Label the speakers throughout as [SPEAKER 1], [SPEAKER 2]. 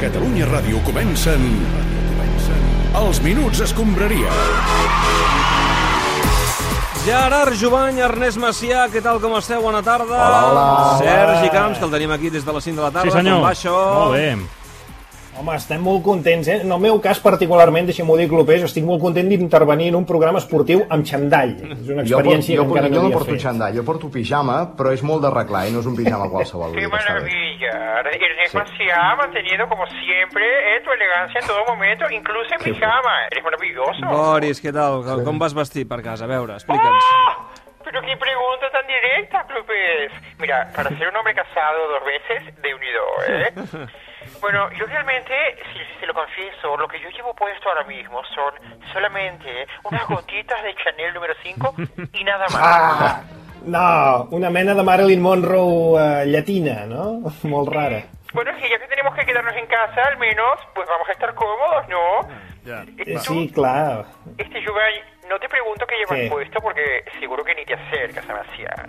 [SPEAKER 1] Catalunya Ràdio comencen... Els Minuts Escombraria.
[SPEAKER 2] Gerard Jovany, Ernest Macià, què tal, com esteu? Bona tarda. Hola, hola. Sergi Camps, que el tenim aquí des de les 5 de la tarda.
[SPEAKER 3] Sí, senyor.
[SPEAKER 2] Com va això?
[SPEAKER 3] Molt bé.
[SPEAKER 4] Home, estem molt contents, eh? En el meu cas particularment, deixem-ho dir, Clopés, estic molt content d'intervenir en un programa esportiu amb xandall. És una
[SPEAKER 5] Jo, porto,
[SPEAKER 4] experiència
[SPEAKER 5] jo,
[SPEAKER 4] que
[SPEAKER 5] porto,
[SPEAKER 4] encara
[SPEAKER 5] jo
[SPEAKER 4] no
[SPEAKER 5] no
[SPEAKER 4] havia
[SPEAKER 5] porto
[SPEAKER 4] fet.
[SPEAKER 5] xandall, jo porto pijama, però és molt d'arreglar, eh? no és un pijama qualsevol. vull
[SPEAKER 6] Qué
[SPEAKER 5] dir que està bé.
[SPEAKER 6] maravilla. Ernest Maciá ha mantenido como siempre eh, tu elegancia en todo momento, incluso en pijama. Eres maravilloso.
[SPEAKER 2] Boris, què tal? Com, com vas vestir per casa? A veure, explica'ns.
[SPEAKER 6] ¡Ah! Pero qué pregunta tan directa, Clupes. Mira, para ser un hombre casado dos veces, de unido, ¿eh? Bueno, yo realmente, si se lo confieso, lo que yo llevo puesto ahora mismo son solamente unas gotitas de Chanel número 5 y nada más.
[SPEAKER 4] Ah! No, una mena de Marilyn Monroe eh, llatina, no? Molt rara.
[SPEAKER 6] Bueno, es que ya que tenemos que quedarnos en casa, al menos, pues vamos a estar cómodos, ¿no?
[SPEAKER 4] Eh,
[SPEAKER 6] ¿Y tú,
[SPEAKER 4] Sí, clar.
[SPEAKER 6] Este Yugay, no te pregunto qué llevas
[SPEAKER 4] Sí.
[SPEAKER 6] puesto porque seguro que ni te acercas a vaciar.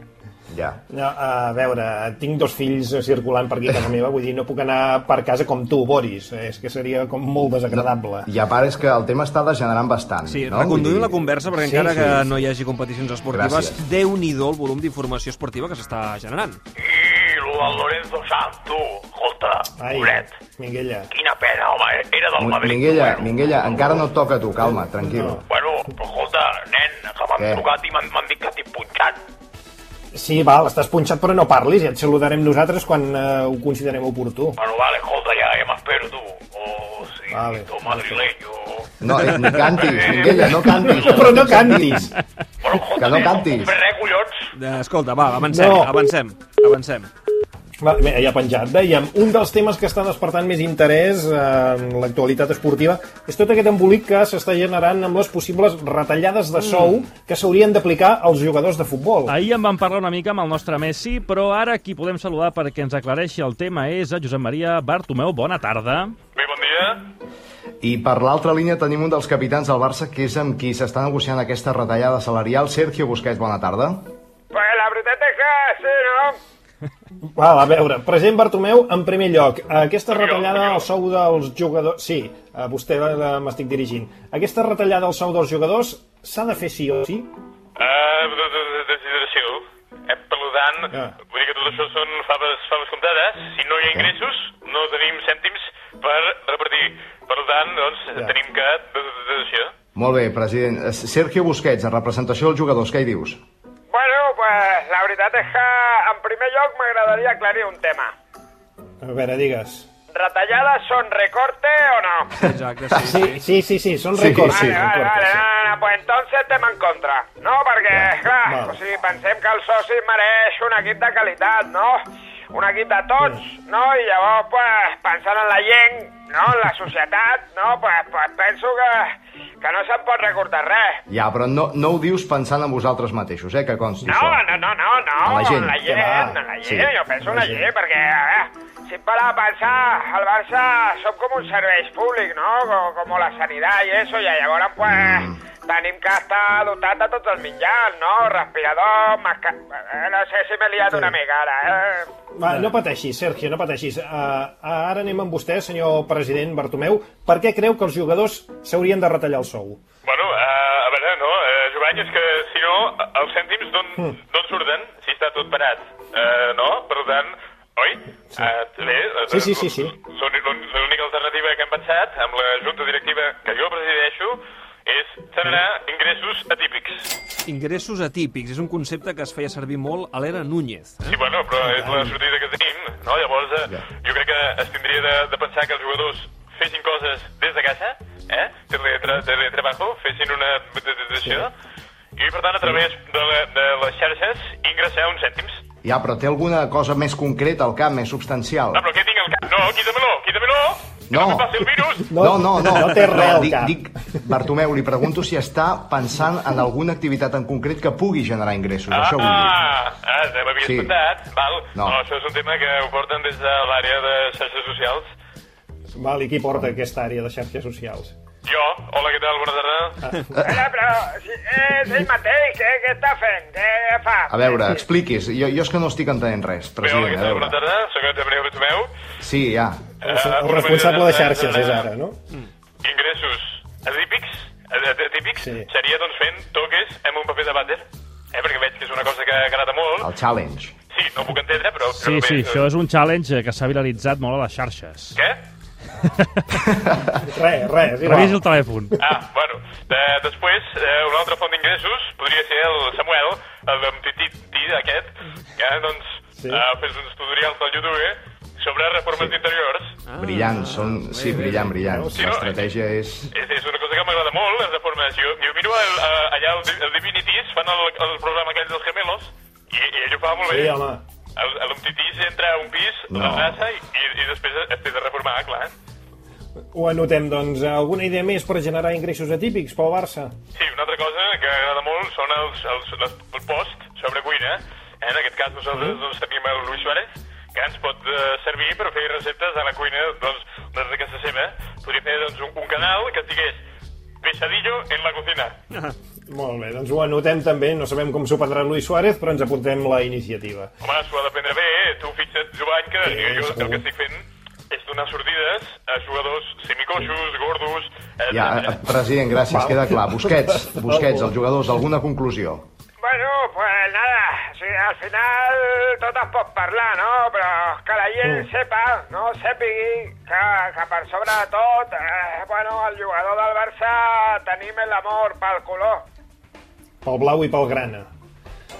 [SPEAKER 5] Ja.
[SPEAKER 4] No, a veure, tinc dos fills eh, circulant per aquí a casa meva, vull dir, no puc anar per casa com tu, Boris. És que seria com molt desagradable.
[SPEAKER 5] I a part és que el tema està degenerant bastant.
[SPEAKER 2] Sí,
[SPEAKER 5] no?
[SPEAKER 2] no? reconduïm
[SPEAKER 5] Vull dir-
[SPEAKER 2] la conversa perquè
[SPEAKER 4] Sí,
[SPEAKER 2] encara
[SPEAKER 4] sí,
[SPEAKER 2] que
[SPEAKER 4] sí.
[SPEAKER 2] no hi hagi competicions esportives,
[SPEAKER 5] Gràcies.
[SPEAKER 2] déu-n'hi-do el volum d'informació esportiva que s'està generant.
[SPEAKER 6] I la Lorenzo Santu, escolta,
[SPEAKER 4] Ai, Minguella.
[SPEAKER 6] Quina pena, home, era del
[SPEAKER 5] Mi-
[SPEAKER 6] Madrid.
[SPEAKER 5] Minguella,
[SPEAKER 6] bueno.
[SPEAKER 5] Minguella, encara no et toca tu, calma, tranquil.
[SPEAKER 4] No.
[SPEAKER 6] Bueno, però escolta, nen, que m'han
[SPEAKER 5] Què?
[SPEAKER 6] trucat i m'han m'han dit que estic punxat.
[SPEAKER 4] Sí, val, estàs punxat però no parlis i et saludarem nosaltres quan eh, ho considerem oportú.
[SPEAKER 6] Bueno, vale, escolta, ja, ja m'espero, tu. Oh, sí,
[SPEAKER 4] Vale.
[SPEAKER 6] tu madrileño.
[SPEAKER 5] No, eh, ni cantis, Minguella, no cantis.
[SPEAKER 4] Però no cantis!
[SPEAKER 6] Bueno, escolta,
[SPEAKER 5] Que no cantis.
[SPEAKER 6] Compraré, collons.
[SPEAKER 2] Eh, Escolta, va, avancem,
[SPEAKER 4] No.
[SPEAKER 2] avancem, avancem.
[SPEAKER 4] Va, bé, ja penjat, veiem. Un dels temes que està despertant més interès eh, en l'actualitat esportiva és tot aquest embolic que s'està generant amb les possibles retallades de sou
[SPEAKER 2] Mm.
[SPEAKER 4] que s'haurien d'aplicar als jugadors de futbol.
[SPEAKER 3] Ahir en vam parlar una mica amb el nostre Messi, però ara qui podem saludar perquè ens aclareixi el tema és a Josep Maria Bartomeu. Bona tarda.
[SPEAKER 6] Bé, bon dia.
[SPEAKER 5] I per l'altra línia tenim un dels capitans del Barça, que és amb qui s'està negociant aquesta retallada salarial. Sergio Busquets, bona tarda.
[SPEAKER 6] Pues la veritat és que, sí, no?
[SPEAKER 4] Val, a veure, president Bartomeu, en primer lloc, aquesta retallada al sou dels jugadors... Sí, a vostè eh, m'estic dirigint. Aquesta retallada al sou dels jugadors s'ha de fer sí o sí?
[SPEAKER 6] Eh, de- de- de- Desideració. Eh, per tant,
[SPEAKER 4] Ah.
[SPEAKER 6] vull dir que tot això són faves, faves comptades. Si no hi ha ingressos, no tenim cèntims per repartir. Per tant, doncs,
[SPEAKER 4] Ja.
[SPEAKER 6] tenim que... de- de- de- Desideració.
[SPEAKER 5] Molt bé, president. Eh, Sergio Busquets, en representació dels jugadors, què hi dius?
[SPEAKER 6] Bueno, pues la veritat és que en primer lloc m'agradaria aclarir un tema.
[SPEAKER 4] A veure, digues.
[SPEAKER 6] ¿Retallades son recorte o no?
[SPEAKER 2] Exacte, sí. sí.
[SPEAKER 4] Sí, sí, sí, sí són
[SPEAKER 5] Sí,
[SPEAKER 4] records.
[SPEAKER 5] sí.
[SPEAKER 6] Vale, vale,
[SPEAKER 4] records,
[SPEAKER 6] vale,
[SPEAKER 4] sí.
[SPEAKER 6] no, no, no, pues entonces estem en contra. No, perquè, clar,
[SPEAKER 4] val.
[SPEAKER 6] o sigui, pensem que el soci mereix un equip de qualitat, no? Un equip de tots, no? I llavors, pues, pensant en la gent, no? En la societat, no? Pues, pues penso que, que no se'n pot recortar res.
[SPEAKER 5] Ja, però no, no ho dius pensant en vosaltres mateixos, eh, que consti
[SPEAKER 6] No,
[SPEAKER 5] això.
[SPEAKER 6] no, no, no, no.
[SPEAKER 5] A la gent,
[SPEAKER 6] la
[SPEAKER 5] que
[SPEAKER 6] gent,
[SPEAKER 4] va.
[SPEAKER 6] a la gent.
[SPEAKER 5] Sí,
[SPEAKER 6] Jo penso
[SPEAKER 4] a
[SPEAKER 6] en
[SPEAKER 4] la
[SPEAKER 6] la
[SPEAKER 4] gent.
[SPEAKER 6] gent, perquè, a veure, si para a pensar, el Barça som com un servei públic, no? Com, com la sanitat i això, i llavors, pues,
[SPEAKER 5] Mm.
[SPEAKER 6] tenim que estar dotat de tots els mitjans, no? Respirador, masca... eh, No sé si m'he liat una mica ara, eh?
[SPEAKER 4] Va, no pateixis, Sergio, no pateixis. Uh, ara anem amb vostè, senyor president Bartomeu. Per què creu que els jugadors s'haurien de retallar el sou?
[SPEAKER 6] Bueno, eh, a veure, no, eh, Jovany, és que si no, els cèntims d'on
[SPEAKER 4] Hmm.
[SPEAKER 6] mm. surten si està tot parat, eh, no? Per tant, oi? Sí. Eh, bé, eh,
[SPEAKER 4] Sí, sí, sí, sí.
[SPEAKER 6] l'únic- l'únic- L'única alternativa que hem pensat amb la junta directiva que jo presideixo és generar ingressos atípics.
[SPEAKER 2] Ingressos atípics, és un concepte que es feia servir molt a l'era Núñez.
[SPEAKER 6] Sí, bueno, però és la sortida que tenim, no? Llavors, eh, jo crec que es tindria de, de pensar que els jugadors fessin coses des de casa, eh? Teletrabajo, fessin una meditació, i per tant, a través de, la, de les xarxes, ingressar uns cèntims.
[SPEAKER 5] Ja, però té alguna cosa més concreta al cap, més substancial?
[SPEAKER 6] No, però què tinc al cap? No, quítamelo, quítamelo! Que
[SPEAKER 5] No.
[SPEAKER 6] no em passi el virus!
[SPEAKER 5] No, no, no.
[SPEAKER 4] No té res
[SPEAKER 5] No,
[SPEAKER 4] al
[SPEAKER 5] dic,
[SPEAKER 4] cap.
[SPEAKER 5] dic, Bartomeu, li pregunto si està pensant en alguna activitat en concret que pugui generar ingressos. Això vull dir.
[SPEAKER 6] Ah, ah, te m'havia
[SPEAKER 5] Sí.
[SPEAKER 6] espantat. Val.
[SPEAKER 5] No.
[SPEAKER 6] No. això és un tema que ho porten des de l'àrea de xarxes socials.
[SPEAKER 4] Val, i qui porta aquesta àrea de xarxes socials?
[SPEAKER 7] Jo, hola, què tal? Bona tarda.
[SPEAKER 5] Ah.
[SPEAKER 6] Hola, però si, eh, és ell mateix, eh? Què està fent? Què fa?
[SPEAKER 5] A veure, expliquis. Jo, jo és que no estic entenent res,
[SPEAKER 7] Bé,
[SPEAKER 5] president.
[SPEAKER 7] hola, què
[SPEAKER 5] A
[SPEAKER 7] tal?
[SPEAKER 5] veure.
[SPEAKER 7] Bona tarda. Soc el Gabriel Bartomeu.
[SPEAKER 5] Sí, ja.
[SPEAKER 6] Eh,
[SPEAKER 4] El, el responsable de xarxes és ara, no?
[SPEAKER 7] Ingressos atípics, atípics
[SPEAKER 4] Sí.
[SPEAKER 7] seria doncs fent toques amb un paper de vàter. Eh, perquè veig que és una cosa que agrada molt.
[SPEAKER 5] El challenge.
[SPEAKER 7] Sí, no ho puc entendre, però...
[SPEAKER 3] Sí, sí, això és un challenge eh, que s'ha viralitzat molt a les xarxes.
[SPEAKER 7] Què?
[SPEAKER 4] Res, Eh, res, és
[SPEAKER 3] Revisi
[SPEAKER 4] igual.
[SPEAKER 3] el telèfon.
[SPEAKER 7] Ah, bueno. De, després, eh, una altra font d'ingressos podria ser el Samuel, el titití aquest, que doncs
[SPEAKER 4] Sí.
[SPEAKER 7] sí. ha fet uns tutorials del YouTube sobre reformes d'interiors.
[SPEAKER 4] Ah.
[SPEAKER 5] Brillants, són... Sí, brillant, brillant.
[SPEAKER 7] Sí, no,
[SPEAKER 5] L'estratègia és...
[SPEAKER 7] És, és una cosa que m'agrada molt, les reformes. Jo, jo miro el, eh, allà el, Di- el Divinities, fan el, el programa aquell dels gemelos, i, i ell ho fa molt
[SPEAKER 4] Sí,
[SPEAKER 7] bé.
[SPEAKER 4] home.
[SPEAKER 7] El, el Omtitís entra a un pis,
[SPEAKER 5] No.
[SPEAKER 7] no. raça, i, i, i després es té de reformar, clar.
[SPEAKER 4] Ho anotem, doncs. Alguna idea més per generar ingressos atípics pel Barça?
[SPEAKER 7] Sí, una altra cosa que agrada molt són els, els, les, el post sobre cuina. Eh, En aquest cas
[SPEAKER 4] Mm-hmm.
[SPEAKER 7] nosaltres doncs, tenim el Luis Suárez, que ens pot eh, servir per fer receptes a la cuina doncs, des de casa seva. Podria fer doncs, un, un canal que es digués Pesadillo en la cocina.
[SPEAKER 4] Molt bé, doncs ho anotem també. No sabem com s'ho prendrà Luis Suárez, però ens apuntem la iniciativa.
[SPEAKER 7] Home, s'ho ha d'aprendre bé, eh? tu fixa't, Jovany, que
[SPEAKER 4] Sí,
[SPEAKER 7] jo
[SPEAKER 4] segur.
[SPEAKER 7] el que estic fent és donar sortides a jugadors semicoixos, gordos... Eh,
[SPEAKER 5] Ja, eh, president, gràcies, queda clar. Busquets, Busquets, els jugadors, alguna conclusió?
[SPEAKER 6] Bueno, pues nada, sí, al final tot es pot parlar, no? Però que la gent sepa, no? Sàpigui que, que per sobre de tot, eh, bueno, el jugador del Barça tenim l'amor pel color.
[SPEAKER 4] Pel blau i pel grana.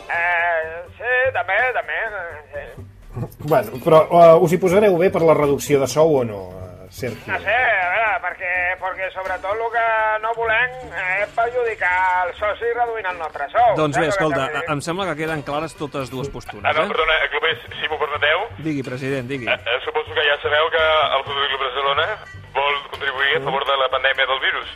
[SPEAKER 6] Eh, sí, també, també. eh, Sí.
[SPEAKER 4] Bueno, però uh, us hi posareu bé per la reducció de sou o no, eh,
[SPEAKER 6] No
[SPEAKER 4] Sergio?
[SPEAKER 6] sé, a veure, perquè, perquè sobretot el que no volem eh, és perjudicar el soci reduint el nostre sou.
[SPEAKER 2] Doncs bé,
[SPEAKER 6] Saps el que
[SPEAKER 2] escolta,
[SPEAKER 6] t'he dit?
[SPEAKER 2] em sembla que queden clares totes dues postures,
[SPEAKER 7] Ah, no,
[SPEAKER 2] eh?
[SPEAKER 7] perdona, eh, clubers, si m'ho permeteu,
[SPEAKER 2] Digui, president, digui.
[SPEAKER 7] eh, eh, suposo que ja sabeu que el Futbol Club Barcelona vol contribuir a favor de la pandèmia del virus.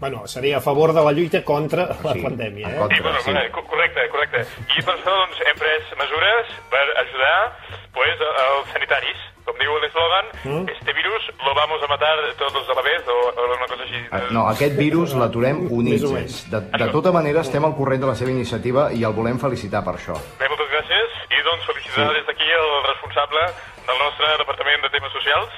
[SPEAKER 4] Bueno, seria a favor de la lluita contra la
[SPEAKER 5] Sí,
[SPEAKER 4] pandèmia,
[SPEAKER 5] en
[SPEAKER 4] eh?
[SPEAKER 5] contra.
[SPEAKER 7] Sí, bueno,
[SPEAKER 5] Sí.
[SPEAKER 7] sí. correcte, correcte. I per això doncs, hem pres mesures per ajudar pues, a- als sanitaris. Com diu l'eslògan,
[SPEAKER 5] Mm.
[SPEAKER 7] este virus lo vamos a matar todos a la vez, o, o una cosa així.
[SPEAKER 5] Eh, No, aquest virus l'aturem units.
[SPEAKER 4] Més o menys.
[SPEAKER 5] De, de tota manera, estem al corrent de la seva iniciativa i el volem felicitar per això.
[SPEAKER 7] Bé, moltes gràcies i doncs felicitar des d'aquí el responsable del nostre Departament de Temes Socials.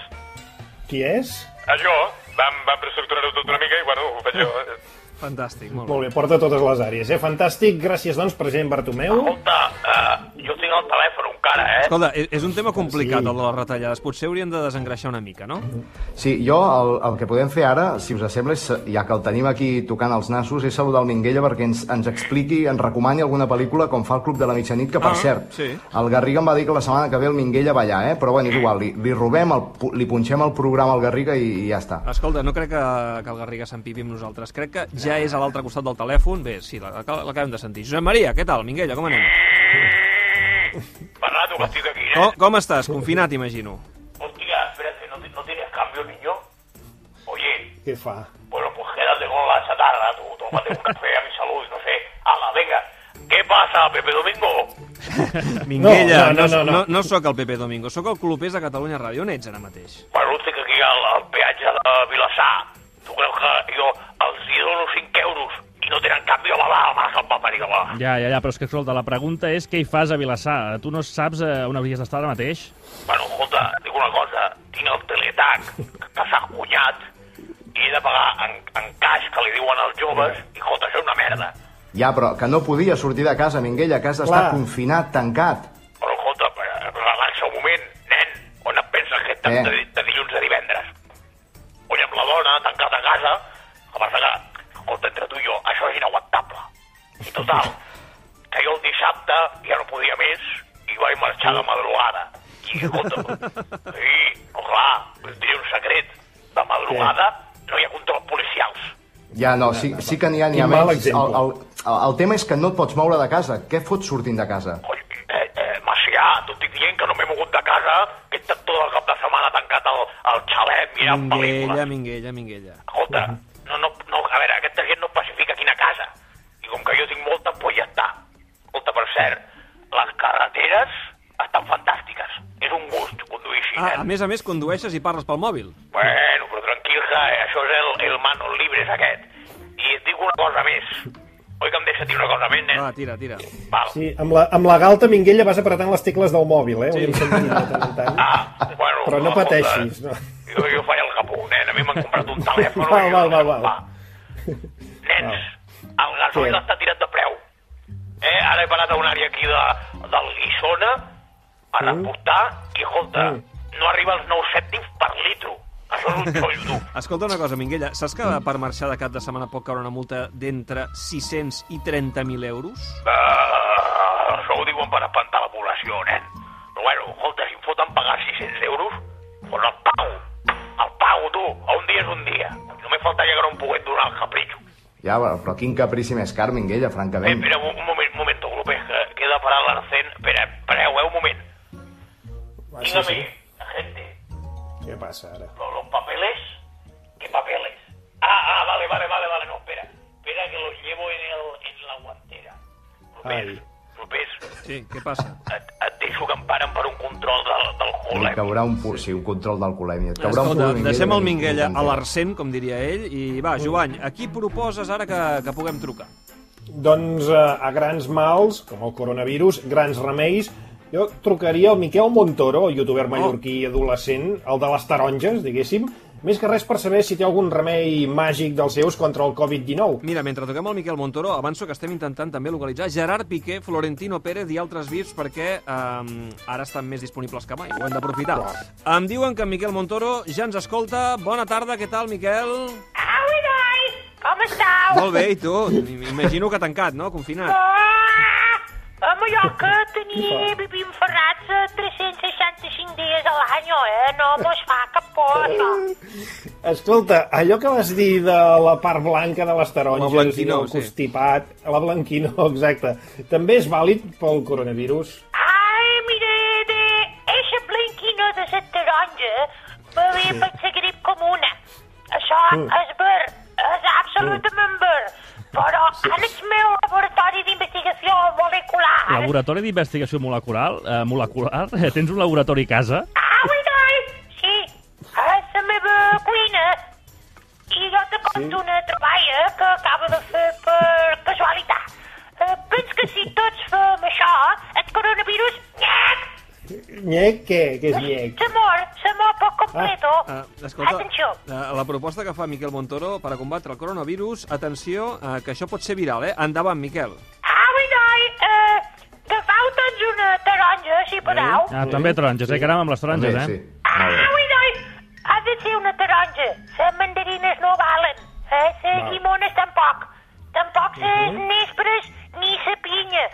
[SPEAKER 4] Qui és?
[SPEAKER 7] A jo vam, vam reestructurar-ho tot una mica i bueno, ho faig jo. eh.
[SPEAKER 2] Fantàstic, molt bé.
[SPEAKER 4] Molt bé, porta totes les àrees, eh? Fantàstic, gràcies, doncs, president Bartomeu.
[SPEAKER 7] Escolta, uh, jo tinc el telèfon encara, eh?
[SPEAKER 2] Escolta, és- és un tema complicat, el de les retallades. Potser hauríem de desengreixar una mica, no?
[SPEAKER 5] Sí, jo el, el que podem fer ara, si us sembla, és, ja que el tenim aquí tocant els nassos, és saludar el Minguella perquè ens, ens expliqui, ens recomani alguna pel·lícula com fa el Club de la Mitjanit, que per
[SPEAKER 2] Ah,
[SPEAKER 5] cert,
[SPEAKER 2] sí.
[SPEAKER 5] el Garriga em va dir que la setmana que ve el Minguella va allà, eh? però bueno, és igual, li, li robem, el, pu- li punxem el programa al Garriga i, i ja està.
[SPEAKER 2] Escolta, no crec que, que el Garriga s'empipi amb nosaltres. Crec que ja és a l'altre costat del telèfon. Bé, sí, la- la- l'acabem de sentir. Josep Maria, què tal? Minguella, com anem?
[SPEAKER 7] Per rato que estic aquí, eh?
[SPEAKER 4] Oh.
[SPEAKER 2] Com, com estàs? Confinat, imagino.
[SPEAKER 7] Hostia, espérate, ¿no, ¿no tienes cambio, niño? Oye,
[SPEAKER 4] Què fa?
[SPEAKER 7] bueno, pues quédate con la chatarra, tú, tómate un café a mi salud, no sé. Ala, venga. ¿Qué pasa, Pepe Domingo?
[SPEAKER 2] Minguella,
[SPEAKER 4] no, no, no,
[SPEAKER 2] no,
[SPEAKER 4] no.
[SPEAKER 2] no sóc el Pepe Domingo, sóc el clubers de Catalunya Ràdio. On ets ara mateix?
[SPEAKER 7] Bueno, estic aquí al, al peatge de Vilassar. Tu creus que jo els hi dono 5 euros i no tenen canvi? Home, va, home, se'n va parir, home.
[SPEAKER 3] Ja, ja, ja, però és que, escolta, la pregunta és què hi fas a Vilassar? Tu no saps eh, on hauries d'estar ara mateix?
[SPEAKER 7] Bueno, escolta, dic una cosa. Tinc el teletac que s'ha cunyat i he de pagar en, en caix que li diuen als joves i, escolta, això és una merda.
[SPEAKER 5] Ja, però que no podia sortir de casa, Minguella, que has d'estar
[SPEAKER 4] Clar.
[SPEAKER 5] confinat, tancat.
[SPEAKER 7] Però escolta, eh, relaxa un moment, nen. On et penses que estem
[SPEAKER 5] Eh?
[SPEAKER 7] de, de dilluns a divendres? Oi, amb la dona, tancat a casa, que vas que, escolta, entre tu i jo, això és inaguantable. I total, que jo el dissabte ja no podia més i vaig marxar de madrugada. I escolta, i, no, clar, us diré un secret, de madrugada no hi ha controls policials.
[SPEAKER 5] Ja, no, sí, sí que n'hi ha, n'hi ha
[SPEAKER 4] Quin mal
[SPEAKER 5] menys. El,
[SPEAKER 4] exemple.
[SPEAKER 5] el, el, el tema és que no et pots moure de casa. Què fots sortint de casa?
[SPEAKER 7] Coi, eh, eh, Macià, t'ho estic dient que no m'he mogut de casa, que he estat tot el cap de setmana tancat al, al xalet mirant pel·lícules.
[SPEAKER 2] Minguella, Minguella, Minguella.
[SPEAKER 7] Escolta, no, no, no, a veure, aquesta gent no pacifica aquí a casa. I com que jo tinc molta, pues ja està. Escolta, per cert, les carreteres estan fantàstiques. És un gust conduir així,
[SPEAKER 2] Ah, a
[SPEAKER 7] nen.
[SPEAKER 2] més a més, condueixes i parles pel mòbil.
[SPEAKER 7] Bueno, però tranquil, que això és el, el
[SPEAKER 8] llibre és aquest. I et dic una cosa més. Oi que em deixa dir una cosa més, nen?
[SPEAKER 2] Va, tira, tira.
[SPEAKER 8] Val.
[SPEAKER 4] Sí, amb la, amb la galta Minguella vas apretant les tecles del mòbil, eh? Sí. Ho hem sentit de tant en tant.
[SPEAKER 8] Ah, bueno,
[SPEAKER 4] Però no
[SPEAKER 8] escolta,
[SPEAKER 4] pateixis, no.
[SPEAKER 8] Jo, jo faré el que puc, nen. A mi m'han comprat un telèfon.
[SPEAKER 4] Val,
[SPEAKER 8] i
[SPEAKER 4] val,
[SPEAKER 8] jo-
[SPEAKER 4] val, val.
[SPEAKER 8] Nens, el gasoil
[SPEAKER 4] Què?
[SPEAKER 8] està tirat de preu. Eh, ara he parat a una àrea aquí de, del Guissona a reportar i, escolta, no arriba als 9 cèntims per litro. Això és un xollo dur.
[SPEAKER 2] Escolta una cosa, Minguella, saps que per marxar de cap de setmana pot caure una multa d'entre 600 i 30.000 euros?
[SPEAKER 8] Ah, això ho diuen per espantar la població, nen. Però bueno, escolta, si em foten pagar 600 euros, doncs el pago. El pago, tu. Un dia és un dia. Només faltaria que no em pogués donar el capritxo.
[SPEAKER 5] Ja, però, però quin caprici més car, Minguella,
[SPEAKER 8] Eh,
[SPEAKER 5] francament.
[SPEAKER 8] espera, un, un moment, un moment, Glopés, que queda parat l'arcén. Espera, espereu, eh, un moment.
[SPEAKER 4] Ah, sí,
[SPEAKER 8] Dígame,
[SPEAKER 4] sí.
[SPEAKER 8] gente,
[SPEAKER 4] Què passa ara?
[SPEAKER 8] ¿lo- ¿los papeles? ¿Qué papeles? Ah, ah, vale, vale, vale, vale, no, espera. Espera que los llevo en, el, en la guantera. Glopés,
[SPEAKER 4] Ai.
[SPEAKER 8] Glopés,
[SPEAKER 2] Sí, què passa?
[SPEAKER 8] et, et deixo que em paren per un control del, del
[SPEAKER 5] Li
[SPEAKER 8] col·le.
[SPEAKER 5] caurà un pur, sí, un control d'alcoholèmia. Et caurà un
[SPEAKER 2] Escolta,
[SPEAKER 5] pur, Minguella,
[SPEAKER 2] deixem el
[SPEAKER 5] de-
[SPEAKER 2] Minguella
[SPEAKER 5] de-
[SPEAKER 2] a l'arcent, com diria ell, i va, Jovany, a qui proposes ara que, que puguem trucar?
[SPEAKER 4] Doncs eh, a grans mals, com el coronavirus, grans remeis, jo trucaria al Miquel Montoro, el
[SPEAKER 2] Oh.
[SPEAKER 4] youtuber mallorquí adolescent, el de les taronges, diguéssim, més que res per saber si té algun remei màgic dels seus contra el Covid-19.
[SPEAKER 2] Mira, mentre toquem el Miquel Montoro, avanço que estem intentant també localitzar Gerard Piqué, Florentino Pérez i altres vips perquè eh, ara estan més disponibles que mai, ho hem d'aprofitar. Em diuen que en Miquel Montoro ja ens escolta. Bona tarda, què tal, Miquel?
[SPEAKER 9] Hola, nois! Com esteu?
[SPEAKER 2] Molt bé, i tu? Imagino que tancat, no? Confinat.
[SPEAKER 9] Ah! A Mallorca tenia vivim ferrats eh, 365 dies a l'any, eh? No mos fa cap por, això.
[SPEAKER 2] Eh.
[SPEAKER 4] Escolta, allò que vas dir de la part blanca de les
[SPEAKER 2] La
[SPEAKER 4] taronges i
[SPEAKER 2] blanquinor,
[SPEAKER 4] del
[SPEAKER 2] sí.
[SPEAKER 4] constipat, la blanquina, exacte, també és vàlid pel coronavirus?
[SPEAKER 9] Ai, mira, de... Eixa blanquina de set taronja va bé per la grip comuna. Això és ver, és absolutament ver. Però en el meu laboratori d'investigació molecular...
[SPEAKER 3] Laboratori d'investigació molecular, eh, molecular, eh, tens un laboratori a casa?
[SPEAKER 9] Au, i noi! Sí, és la meva cuina. I jo te conto sí. una troballa que acaba de fer per casualitat. Eh, pens que si tots fem això, el coronavirus... Nyac!
[SPEAKER 4] Nyec, què?
[SPEAKER 2] Eh,
[SPEAKER 4] Què és nyec?
[SPEAKER 9] Se mor, se mor per completo.
[SPEAKER 2] Uh, escolta,
[SPEAKER 9] Atenció.
[SPEAKER 2] eh, la proposta que fa Miquel Montoro per a combatre el coronavirus, atenció, eh, que això pot ser viral, eh? Endavant, Miquel.
[SPEAKER 9] Au, i noi! Eh, agafau tots una taronja, si podeu.
[SPEAKER 3] Ah, també taronges, eh? Caram, amb les taronges,
[SPEAKER 5] També,
[SPEAKER 3] eh?
[SPEAKER 5] sí. Molt bé.
[SPEAKER 9] Au, i Ah, noi! Ha de ser una taronja. Les mandarines no valen. Eh? Les
[SPEAKER 4] Val.
[SPEAKER 9] llimones tampoc. Tampoc les nespres, ni la pinya,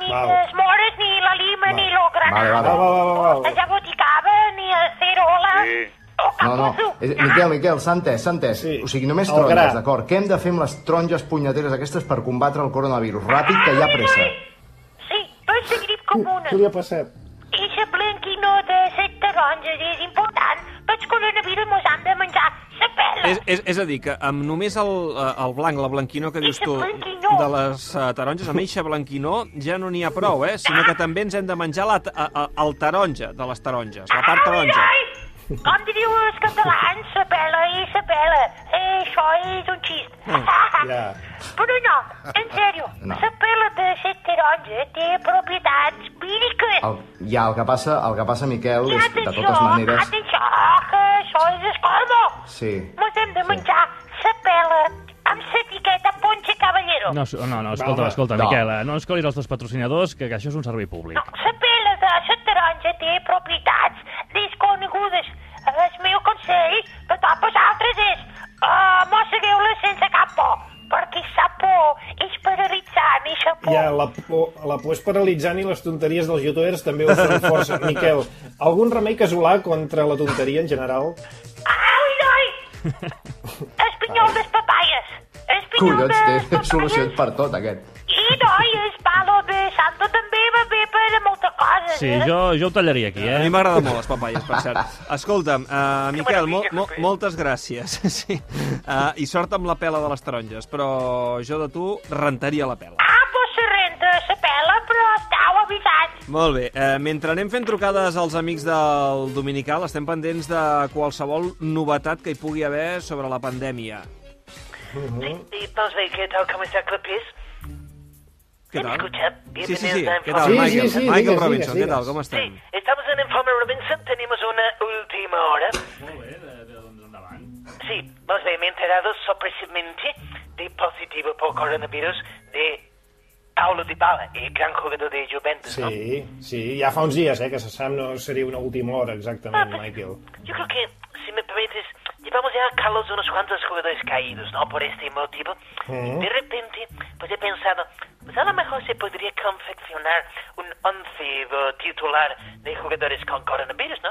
[SPEAKER 9] ni
[SPEAKER 4] Val.
[SPEAKER 9] les mores, ni la lima, ni lo granada.
[SPEAKER 5] Vale,
[SPEAKER 4] Va, va, va, va, va.
[SPEAKER 9] La jaboticaba, ni la cerola, sí. o
[SPEAKER 5] No, no.
[SPEAKER 9] capuzzo.
[SPEAKER 5] És, Miquel, Miquel, s'ha entès, s'ha entès.
[SPEAKER 4] Sí.
[SPEAKER 5] O sigui, només
[SPEAKER 4] El gra.
[SPEAKER 5] taronges, d'acord. Què hem de fer amb les taronges punyeteres aquestes per combatre el coronavirus? Ràpid, que hi ha pressa.
[SPEAKER 9] Sí, però és la grip comuna.
[SPEAKER 4] Què li ha passat?
[SPEAKER 9] I la blanquinó de set taronges és important, però el coronavirus mos han de menjar la pela.
[SPEAKER 2] És, és, és a dir, que amb només el, eh, el blanc, la blanquinor que dius
[SPEAKER 9] Eixa
[SPEAKER 2] tu,
[SPEAKER 9] blanquinor.
[SPEAKER 2] de les eh, taronges, amb eixa blanquinor ja no n'hi ha prou, eh? Sinó que també ens hem de menjar la, ta- a, a, el taronja de les taronges, la part taronja.
[SPEAKER 9] Ai, com diu els catalans, la pela i la pela. Eh, això és un Ah, xist.
[SPEAKER 2] Eh. Mm.
[SPEAKER 4] Ja.
[SPEAKER 9] Però no, en sèrio,
[SPEAKER 5] No.
[SPEAKER 9] la pela de e set taronja té propietats víriques.
[SPEAKER 5] El, ja, el que passa, el que passa, Miquel,
[SPEAKER 9] I
[SPEAKER 5] és, de
[SPEAKER 9] atenció,
[SPEAKER 5] totes maneres...
[SPEAKER 9] atenció, que això és escormo.
[SPEAKER 5] Sí.
[SPEAKER 9] Mos hem de menjar la pela amb l'etiqueta Ponche Caballero.
[SPEAKER 3] No, no, no, escolta,
[SPEAKER 4] home.
[SPEAKER 3] escolta,
[SPEAKER 5] No.
[SPEAKER 3] Miquel, eh, no ens colis els teus patrocinadors, que, que això és un servei públic.
[SPEAKER 9] No, la pell de e la taronja té propietats desconegudes. El meu consell per a vosaltres és uh, mossegueu-la sense cap por, perquè sa por és paralitzant i sa por...
[SPEAKER 4] Ja, la por, la por és paralitzant i les tonteries dels youtubers també ho són força. Miquel, algun remei casolà contra la tonteria en general?
[SPEAKER 9] Au, noi! Espinyol de papaies! Espinyol
[SPEAKER 5] Collons,
[SPEAKER 9] de
[SPEAKER 5] doncs té solucions
[SPEAKER 9] papaies!
[SPEAKER 5] per tot, aquest.
[SPEAKER 9] I, noi, el palo e de santo també va bé per a moltes coses,
[SPEAKER 3] Sí,
[SPEAKER 9] eh?
[SPEAKER 3] jo, jo ho tallaria aquí,
[SPEAKER 2] A mi
[SPEAKER 3] eh?
[SPEAKER 2] m'agrada molt les papaies, per cert. Escolta'm, uh, Miquel, mo mo moltes gràcies. Sí. Uh, I sort amb la pela de les taronges, però jo de tu rentaria la pela.
[SPEAKER 9] Ah, pues se renta la pela, però estau avisats.
[SPEAKER 2] Molt bé. Eh, mentre anem fent trucades als amics del Dominical, estem pendents de qualsevol novetat que hi pugui haver sobre la pandèmia.
[SPEAKER 10] Sí, sí, doncs bé, què tal? Com està, Clapés?
[SPEAKER 2] ¿Qué tal?
[SPEAKER 10] Escucha,
[SPEAKER 2] Sí, sí,
[SPEAKER 10] bienvenidos
[SPEAKER 2] sí.
[SPEAKER 10] Eh, a
[SPEAKER 2] ¿Qué tal,
[SPEAKER 4] Sí, sí,
[SPEAKER 2] Michael?
[SPEAKER 4] sí,
[SPEAKER 2] Michael
[SPEAKER 4] digas, digas,
[SPEAKER 2] Robinson, ¿qué tal?
[SPEAKER 4] digas.
[SPEAKER 2] ¿Cómo están?
[SPEAKER 10] Sí, estamos en Informe Robinson, tenemos una última hora. Sí, más bien, me he enterado sorpresivamente de positivo por coronavirus de Paulo Dybala, el gran jugador de Juventus, ¿no?
[SPEAKER 4] Sí, sí, ja fa uns dies, eh, que se sap, no seria una última hora
[SPEAKER 10] Ah,
[SPEAKER 4] exactament,
[SPEAKER 10] pues,
[SPEAKER 4] Michael.
[SPEAKER 10] Yo creo que, si me permites, llevamos ya a Carlos unos cuantos jugadores caídos, ¿no? Por este motivo. Y
[SPEAKER 4] Mm.
[SPEAKER 10] de repente, pues he pensado, pues a lo mejor se podría confeccionar un once eh, titular de jugadores con coronavirus, ¿no?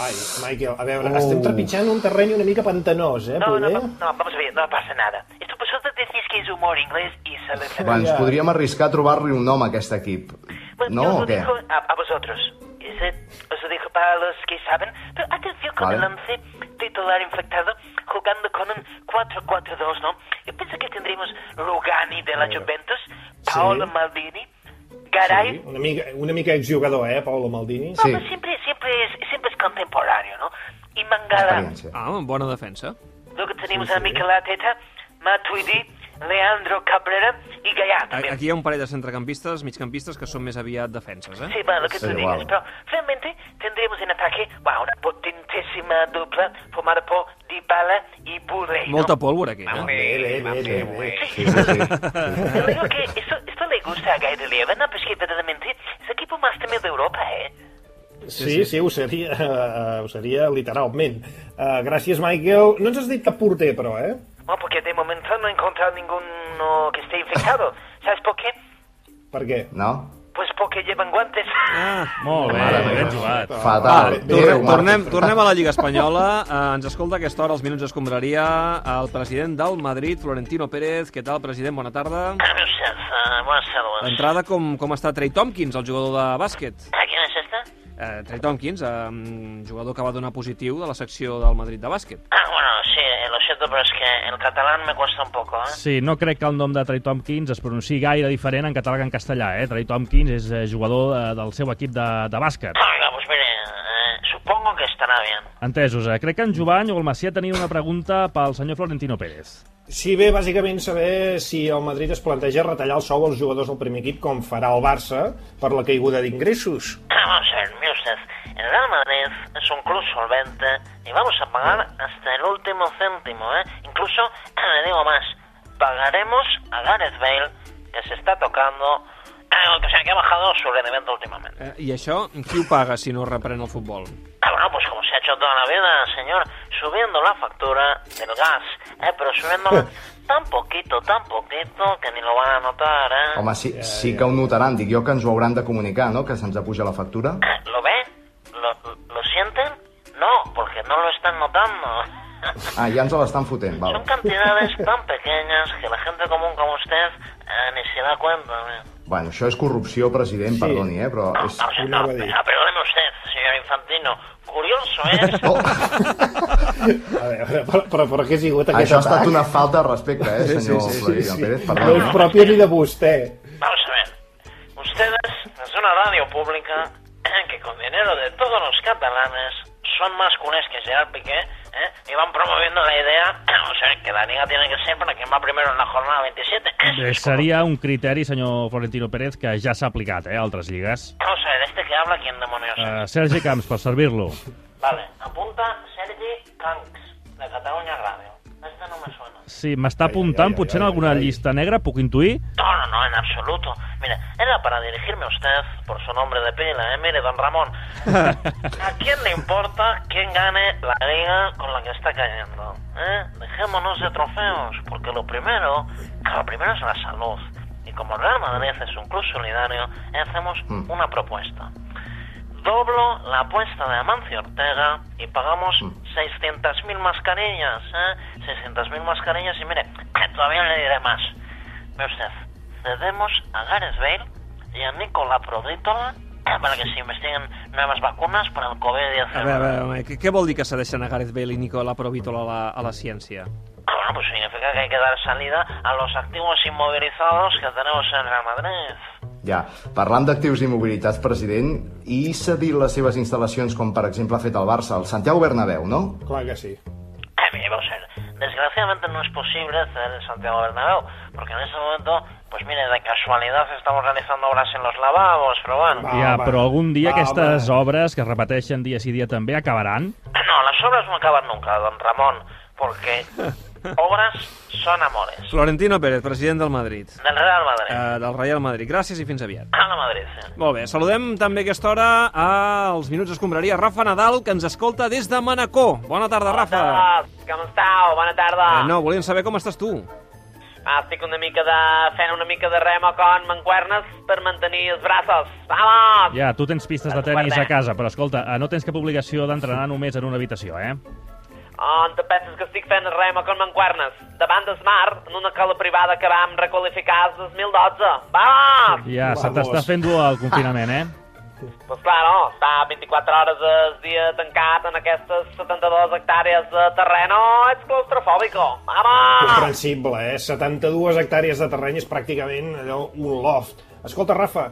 [SPEAKER 4] Ai, Michael, a veure, estem
[SPEAKER 5] Oh.
[SPEAKER 4] trepitjant un terreny una mica pantanós, eh,
[SPEAKER 10] No, no,
[SPEAKER 4] poder?
[SPEAKER 10] no, no, vamos a ver, no pasa nada. Esto pues, vosotros decís que es humor inglés y se lo
[SPEAKER 5] Va, ens
[SPEAKER 4] Ja.
[SPEAKER 5] podríem arriscar a trobar-li un nom a aquest equip.
[SPEAKER 10] Bueno,
[SPEAKER 5] No
[SPEAKER 10] Pues yo os
[SPEAKER 5] o
[SPEAKER 10] lo
[SPEAKER 5] què?
[SPEAKER 10] dejo a, a vosotros. Ese os lo dejo para los que saben. Pero atención con
[SPEAKER 5] Vale.
[SPEAKER 10] el once titular infectado jugando con un 4-4-2, ¿no? Yo pienso que tendremos Rugani de la Juventus, Paolo Maldini, Garay.
[SPEAKER 4] Sí, una mica, una mica exjugador, eh, Paolo Maldini?
[SPEAKER 5] Sí.
[SPEAKER 10] No, pero siempre, siempre, es, siempre es contemporáneo, ¿no? Y Mangala.
[SPEAKER 5] Experiència.
[SPEAKER 2] Ah, bona defensa.
[SPEAKER 10] Luego tenemos a Mikel Arteta, Matuidi, Leandro Cabrera y Gallá
[SPEAKER 2] A-
[SPEAKER 10] también.
[SPEAKER 2] Aquí hi ha un parell de centrecampistes, migcampistes, que són més aviat defenses, eh?
[SPEAKER 10] Sí, bueno, lo que tú
[SPEAKER 5] Sí,
[SPEAKER 10] digas,
[SPEAKER 5] wow.
[SPEAKER 10] pero realmente tendremos en ataque wow, una potentísima dupla formada por Dybala y Burrey. ¿no?
[SPEAKER 2] Molta pólvora, aquí,
[SPEAKER 11] Bé,
[SPEAKER 2] eh?
[SPEAKER 11] bé, bé, bé, bé.
[SPEAKER 5] Sí, sí, sí.
[SPEAKER 10] Yo digo que esto, esto le gusta a Guy de Lieven, ¿no? Pues que verdaderamente es el equipo más temido de Europa, ¿eh?
[SPEAKER 4] Sí, sí, ho seria, eh, ho seria literalment. Eh, gràcies, Michael. No ens has dit cap porter, però, eh?
[SPEAKER 10] Bueno, porque de momento no he encontrado ninguno que esté infectado. ¿Sabes por qué?
[SPEAKER 4] Per què?
[SPEAKER 5] No?
[SPEAKER 10] Pues porque llevan guantes.
[SPEAKER 3] Molt bé,
[SPEAKER 5] Mare meva.
[SPEAKER 3] ben jugat.
[SPEAKER 5] Fatal.
[SPEAKER 4] Vale,
[SPEAKER 5] Déu,
[SPEAKER 2] Tornem,
[SPEAKER 5] Marc.
[SPEAKER 2] tornem, tornem a la Lliga Espanyola. Eh, ens escolta a aquesta hora, els minuts escombraria, el president del Madrid, Florentino Pérez. Què tal, president? Bona tarda.
[SPEAKER 10] Buenas tardes, Ah, buenas tardes.
[SPEAKER 2] D'entrada, com, com està Trey Tompkins, el jugador de bàsquet?
[SPEAKER 10] ¿A quién es este? esta?
[SPEAKER 2] Eh, Trey Tompkins, eh, jugador que va donar positiu de la secció del Madrid de bàsquet.
[SPEAKER 10] Ah, bueno, sí, lo siento, pero es que el catalán me cuesta un poco, ¿eh?
[SPEAKER 3] Sí, no crec que el nom de Trey Tompkins es pronunciï gaire diferent en català que en castellà, eh? Trey Tompkins és eh, jugador eh, del seu equip de, de bàsquet.
[SPEAKER 10] Oiga, pues mire, eh, supongo que estará bien.
[SPEAKER 3] Entesos, eh? Crec que en Jovany o el Macià tenien una pregunta pel senyor Florentino Pérez.
[SPEAKER 4] Sí, bé, bàsicament saber si el Madrid es planteja retallar el sou als jugadors del primer equip com farà el Barça per la caiguda d'ingressos.
[SPEAKER 10] Vamos a ver, mire usted, el Real Madrid es un club solvente y vamos a pagar hasta el último céntimo, ¿eh? Incluso, le digo más, pagaremos a Gareth Bale, que se está tocando, eh, o sea, que ha bajado su rendimiento últimamente.
[SPEAKER 2] Eh, I això, qui ho paga si no reprèn el futbol?
[SPEAKER 10] Ah, bueno, pues como se ha hecho toda la vida, señor, subiendo la factura del gas, ¿eh? Pero subiéndola tan poquito, tan poquito, que ni lo van a notar, ¿eh?
[SPEAKER 5] Home, sí, sí que ho notaran. Dic jo que ens ho hauran de comunicar, no?, que se'ns apuja la factura.
[SPEAKER 10] ¿Lo ven? ¿Lo, ¿Lo sienten? No, porque no lo están notando.
[SPEAKER 5] Ah, ja ens l'estan fotent, val.
[SPEAKER 10] Son cantidades tan pequeñas que la gente común como usted eh, ni se da cuenta. ¿eh?
[SPEAKER 5] Bueno, això és corrupció, president, perdoni, eh, pero és...
[SPEAKER 10] O sea, no,
[SPEAKER 4] Una abadía.
[SPEAKER 10] ah, perdóneme usted, señor Infantino. Curioso es.
[SPEAKER 5] Oh,
[SPEAKER 4] A veure, però, però, però què ha sigut aquest
[SPEAKER 5] això ha estat
[SPEAKER 4] atac?
[SPEAKER 5] una falta de respecte, eh, senyor
[SPEAKER 4] sí, sí,
[SPEAKER 5] Florentino
[SPEAKER 4] sí.
[SPEAKER 5] Pérez,
[SPEAKER 4] No és
[SPEAKER 5] perdoni.
[SPEAKER 4] pròpia ni de vostè.
[SPEAKER 10] Vamos a ver. Ustedes, es una radio pública que con dinero de todos los catalanes son más culés que Gerard Piqué ¿eh? y van promoviendo la idea, o sea, que la liga tiene que ser para quien va primero en la jornada 27.
[SPEAKER 3] Eh, seria un criteri, senyor Florentino Pérez, que ja s'ha aplicat eh, a altres lligues.
[SPEAKER 10] Vamos a ver, este que habla, ¿quién demonios es?
[SPEAKER 3] Eh, Sergi Camps, per servir-lo.
[SPEAKER 10] Vale, apunta Sergi Canx, de Catalunya Ràdio. Este no me suena.
[SPEAKER 3] Sí, m'està apuntant, potser en alguna llista negra, puc intuir?
[SPEAKER 10] No, no, no, en absoluto. Mire, era para dirigirme a usted por su nombre de pila, ¿eh? Mire, don Ramón. ¿A quién le importa quién gane la liga con la que está cayendo? ¿Eh? Dejémonos de trofeos, porque lo primero, que lo primero es la salud. Y como el Real Madrid es un club solidario, hacemos una propuesta. Doblo la apuesta de Amancio Ortega y pagamos 600.000 mascarillas, ¿eh? 600.000 mascarillas y mire, todavía le diré más. Ve usted, cedemos a Gareth Bale y a Nicola Prodítola eh, para que se investiguen nuevas vacunas para el COVID-19.
[SPEAKER 2] A veure, a veure, a veure, què- què vol dir que cedeixen a Gareth Bale i Nicola Provítola a la, a la ciència?
[SPEAKER 10] Ah, Bueno, pues significa que hay que dar salida a los activos inmovilizados que tenemos en Real Madrid.
[SPEAKER 5] Ja, parlant d'actius i mobilitats, president, i cedir les seves instal·lacions, com per exemple ha fet el Barça, el Santiago Bernabéu, no?
[SPEAKER 4] Clar que sí.
[SPEAKER 10] Eh, mire, vamos a ver,
[SPEAKER 12] Desgraciadamente no es posible hacer el Santiago Bernabéu, porque en ese momento, pues mire, de casualidad estamos realizando obras en los lavabos, probando.
[SPEAKER 4] Va,
[SPEAKER 3] Ja,
[SPEAKER 4] va.
[SPEAKER 3] però algun
[SPEAKER 2] Ah,
[SPEAKER 3] dia
[SPEAKER 4] Va,
[SPEAKER 3] aquestes
[SPEAKER 4] va.
[SPEAKER 3] obres que es repeteixen dia sí dia també acabaran.
[SPEAKER 12] No, las obras no acaban nunca, don Ramón, porque obras son amores.
[SPEAKER 2] Florentino Pérez, president del Madrid.
[SPEAKER 12] Del Real Madrid.
[SPEAKER 2] Eh, del Real Madrid. Gràcies i fins aviat.
[SPEAKER 12] A la Madrid, sí.
[SPEAKER 2] Molt bé, saludem també a aquesta hora als Minuts Escombraria Rafa Nadal, que ens escolta des de Manacor. Bona tarda, Rafa.
[SPEAKER 12] Com esteu? Bona tarda.
[SPEAKER 2] Eh, no, volíem saber com estàs tu.
[SPEAKER 12] Ah, estic una mica de... fent una mica de remo con mancuernes per mantenir els braços. Vamos!
[SPEAKER 3] Ja, tu tens pistes de tennis a casa, però escolta, eh, no tens cap obligació d'entrenar només en una habitació, eh?
[SPEAKER 12] On te penses que estic fent el remo con mancuernes? Davant del mar, en una cola privada que vam requalificar el 2012.
[SPEAKER 6] Ah,
[SPEAKER 12] Vamos!
[SPEAKER 3] Ja, se
[SPEAKER 4] Vamos.
[SPEAKER 3] t'està fent dur el confinament, eh?
[SPEAKER 12] Pues claro, està 24 hores al dia tancat en aquestes 72 hectàrees de terreno, ets claustrofòbico. Vamos!
[SPEAKER 4] Comprensible, eh? 72 hectàrees de terreny és pràcticament allò, un loft. Escolta, Rafa,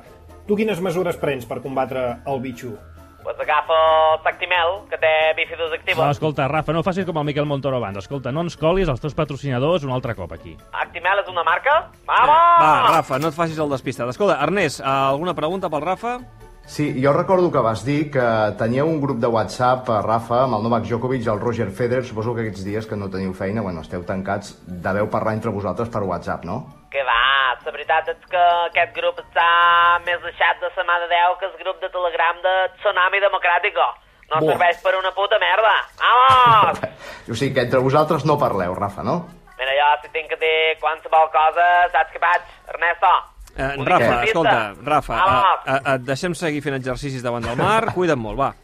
[SPEAKER 4] tu quines mesures prens per combatre el bitxo?
[SPEAKER 12] Pues agafa el tactimel, que té bifidus
[SPEAKER 3] No,
[SPEAKER 12] activos.
[SPEAKER 3] escolta, Rafa, no facis com el Miquel Montoro abans. Escolta, no ens colis els teus patrocinadors un altre cop aquí.
[SPEAKER 12] Actimel és una marca?
[SPEAKER 2] Va,
[SPEAKER 12] Vamos!
[SPEAKER 2] Rafa, no et facis el despistat. Escolta, Ernest, eh, alguna pregunta pel Rafa?
[SPEAKER 5] Sí, jo recordo que vas dir que teníeu un grup de WhatsApp, eh, Rafa, amb el Novak Djokovic i el Roger Federer. Suposo que aquests dies que no teniu feina, bueno, esteu tancats, deveu parlar entre vosaltres per WhatsApp, no?
[SPEAKER 12] Que va, la veritat és que aquest grup està més deixat de sa mà de Déu que el grup de Telegram de Tsunami Democràtico. No
[SPEAKER 4] Buah.
[SPEAKER 12] serveix per una puta merda. Vamos!
[SPEAKER 5] O sigui que entre vosaltres no parleu, Rafa, no?
[SPEAKER 12] Mira, jo si tinc que dir qualsevol cosa, saps què faig, Ernesto?
[SPEAKER 2] Eh,
[SPEAKER 12] Ho dic
[SPEAKER 2] Rafa,
[SPEAKER 12] en
[SPEAKER 2] escolta,
[SPEAKER 12] pista.
[SPEAKER 2] Rafa,
[SPEAKER 4] Ah.
[SPEAKER 12] Vamos!
[SPEAKER 2] eh, eh, et deixem seguir fent exercicis davant del mar. Cuida't molt, va.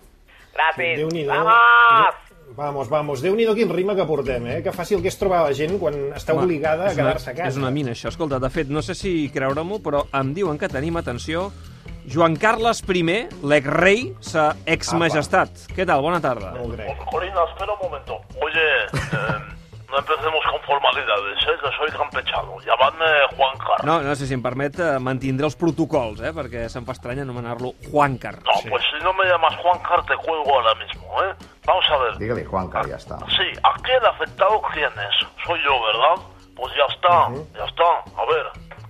[SPEAKER 12] Gràcies.
[SPEAKER 4] Déu-n'hi-do.
[SPEAKER 12] Vamos!
[SPEAKER 4] Vamos, vamos. Déu-n'hi-do quin ritme que portem, eh? Que fàcil que és trobar la gent quan està
[SPEAKER 2] Home,
[SPEAKER 4] obligada a
[SPEAKER 2] és una-
[SPEAKER 4] quedar-se a casa.
[SPEAKER 2] És una mina, això. Escolta, de fet, no sé si creure-m'ho, però em diuen que tenim, atenció, Joan Carles I, l'ex-rei, sa ex-majestat. Què tal? Bona tarda.
[SPEAKER 4] No ho crec.
[SPEAKER 11] Corina, espera un momento. Oye, eh, no empecemos con formalidades, ¿eh? que soy campechano. Llamadme Juan Carlos.
[SPEAKER 2] No, no sé si em permet eh, mantindré els protocols, eh, perquè se'm fa estrany anomenar-lo Juan Carles.
[SPEAKER 11] No, pues si no me llamas Juancar, te cuelgo ahora mismo, ¿eh? Vamos a ver.
[SPEAKER 5] Digue-li, Juanca, ja està.
[SPEAKER 11] Sí, aquí el afectado, ¿quién es? Soy yo, ¿verdad? Pues ya está, ya está. A ver,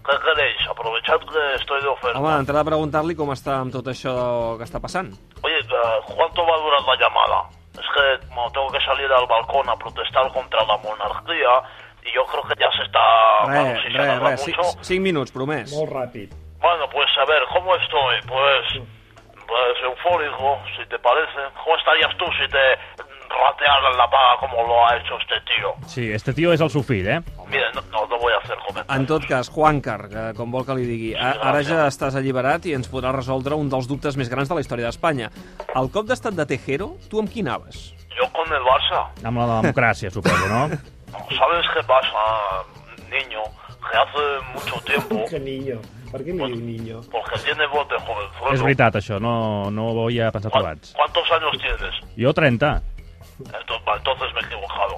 [SPEAKER 11] ¿qué queréis? Aprovechad que estoy de oferta.
[SPEAKER 2] Home, d'entrada preguntar-li com està amb tot això que està passant.
[SPEAKER 11] Oye, eh, ¿cuánto va a durar la llamada? Es que como tengo que salir al balcón a protestar contra la monarquía y yo creo que ya se está
[SPEAKER 2] Res, res,
[SPEAKER 11] manoseando
[SPEAKER 2] res.
[SPEAKER 11] mucho.
[SPEAKER 2] Cinc, cinc minuts, promès.
[SPEAKER 4] Molt ràpid.
[SPEAKER 11] Bueno, pues a ver, ¿cómo estoy? Pues, pues eufórico, si te parece. ¿Cómo estarías tú si te ratearan la paga como lo ha hecho este tío?
[SPEAKER 3] Sí, este tio és el seu fill, eh?
[SPEAKER 11] Mira, no, no, no voy a hacer comentarios.
[SPEAKER 2] En tot cas, Juancar, que com vol que li digui, a- ara ja estàs alliberat i ens podrà resoldre un dels dubtes més grans de la història d'Espanya. El cop d'estat de Tejero, tu amb qui anaves?
[SPEAKER 11] Yo con el Barça.
[SPEAKER 3] Amb la democràcia, suposo, no?
[SPEAKER 11] ¿Sabes qué pasa, niño? Que hace mucho tiempo, Pues,
[SPEAKER 4] Que niño. Per què li diu niño?
[SPEAKER 11] porque tiene bote, joven.
[SPEAKER 3] És veritat, això, no, no ho havia pensat abans.
[SPEAKER 11] ¿Cuántos años tienes?
[SPEAKER 3] Jo, 30.
[SPEAKER 11] Entonces, va, entonces me he equivocado.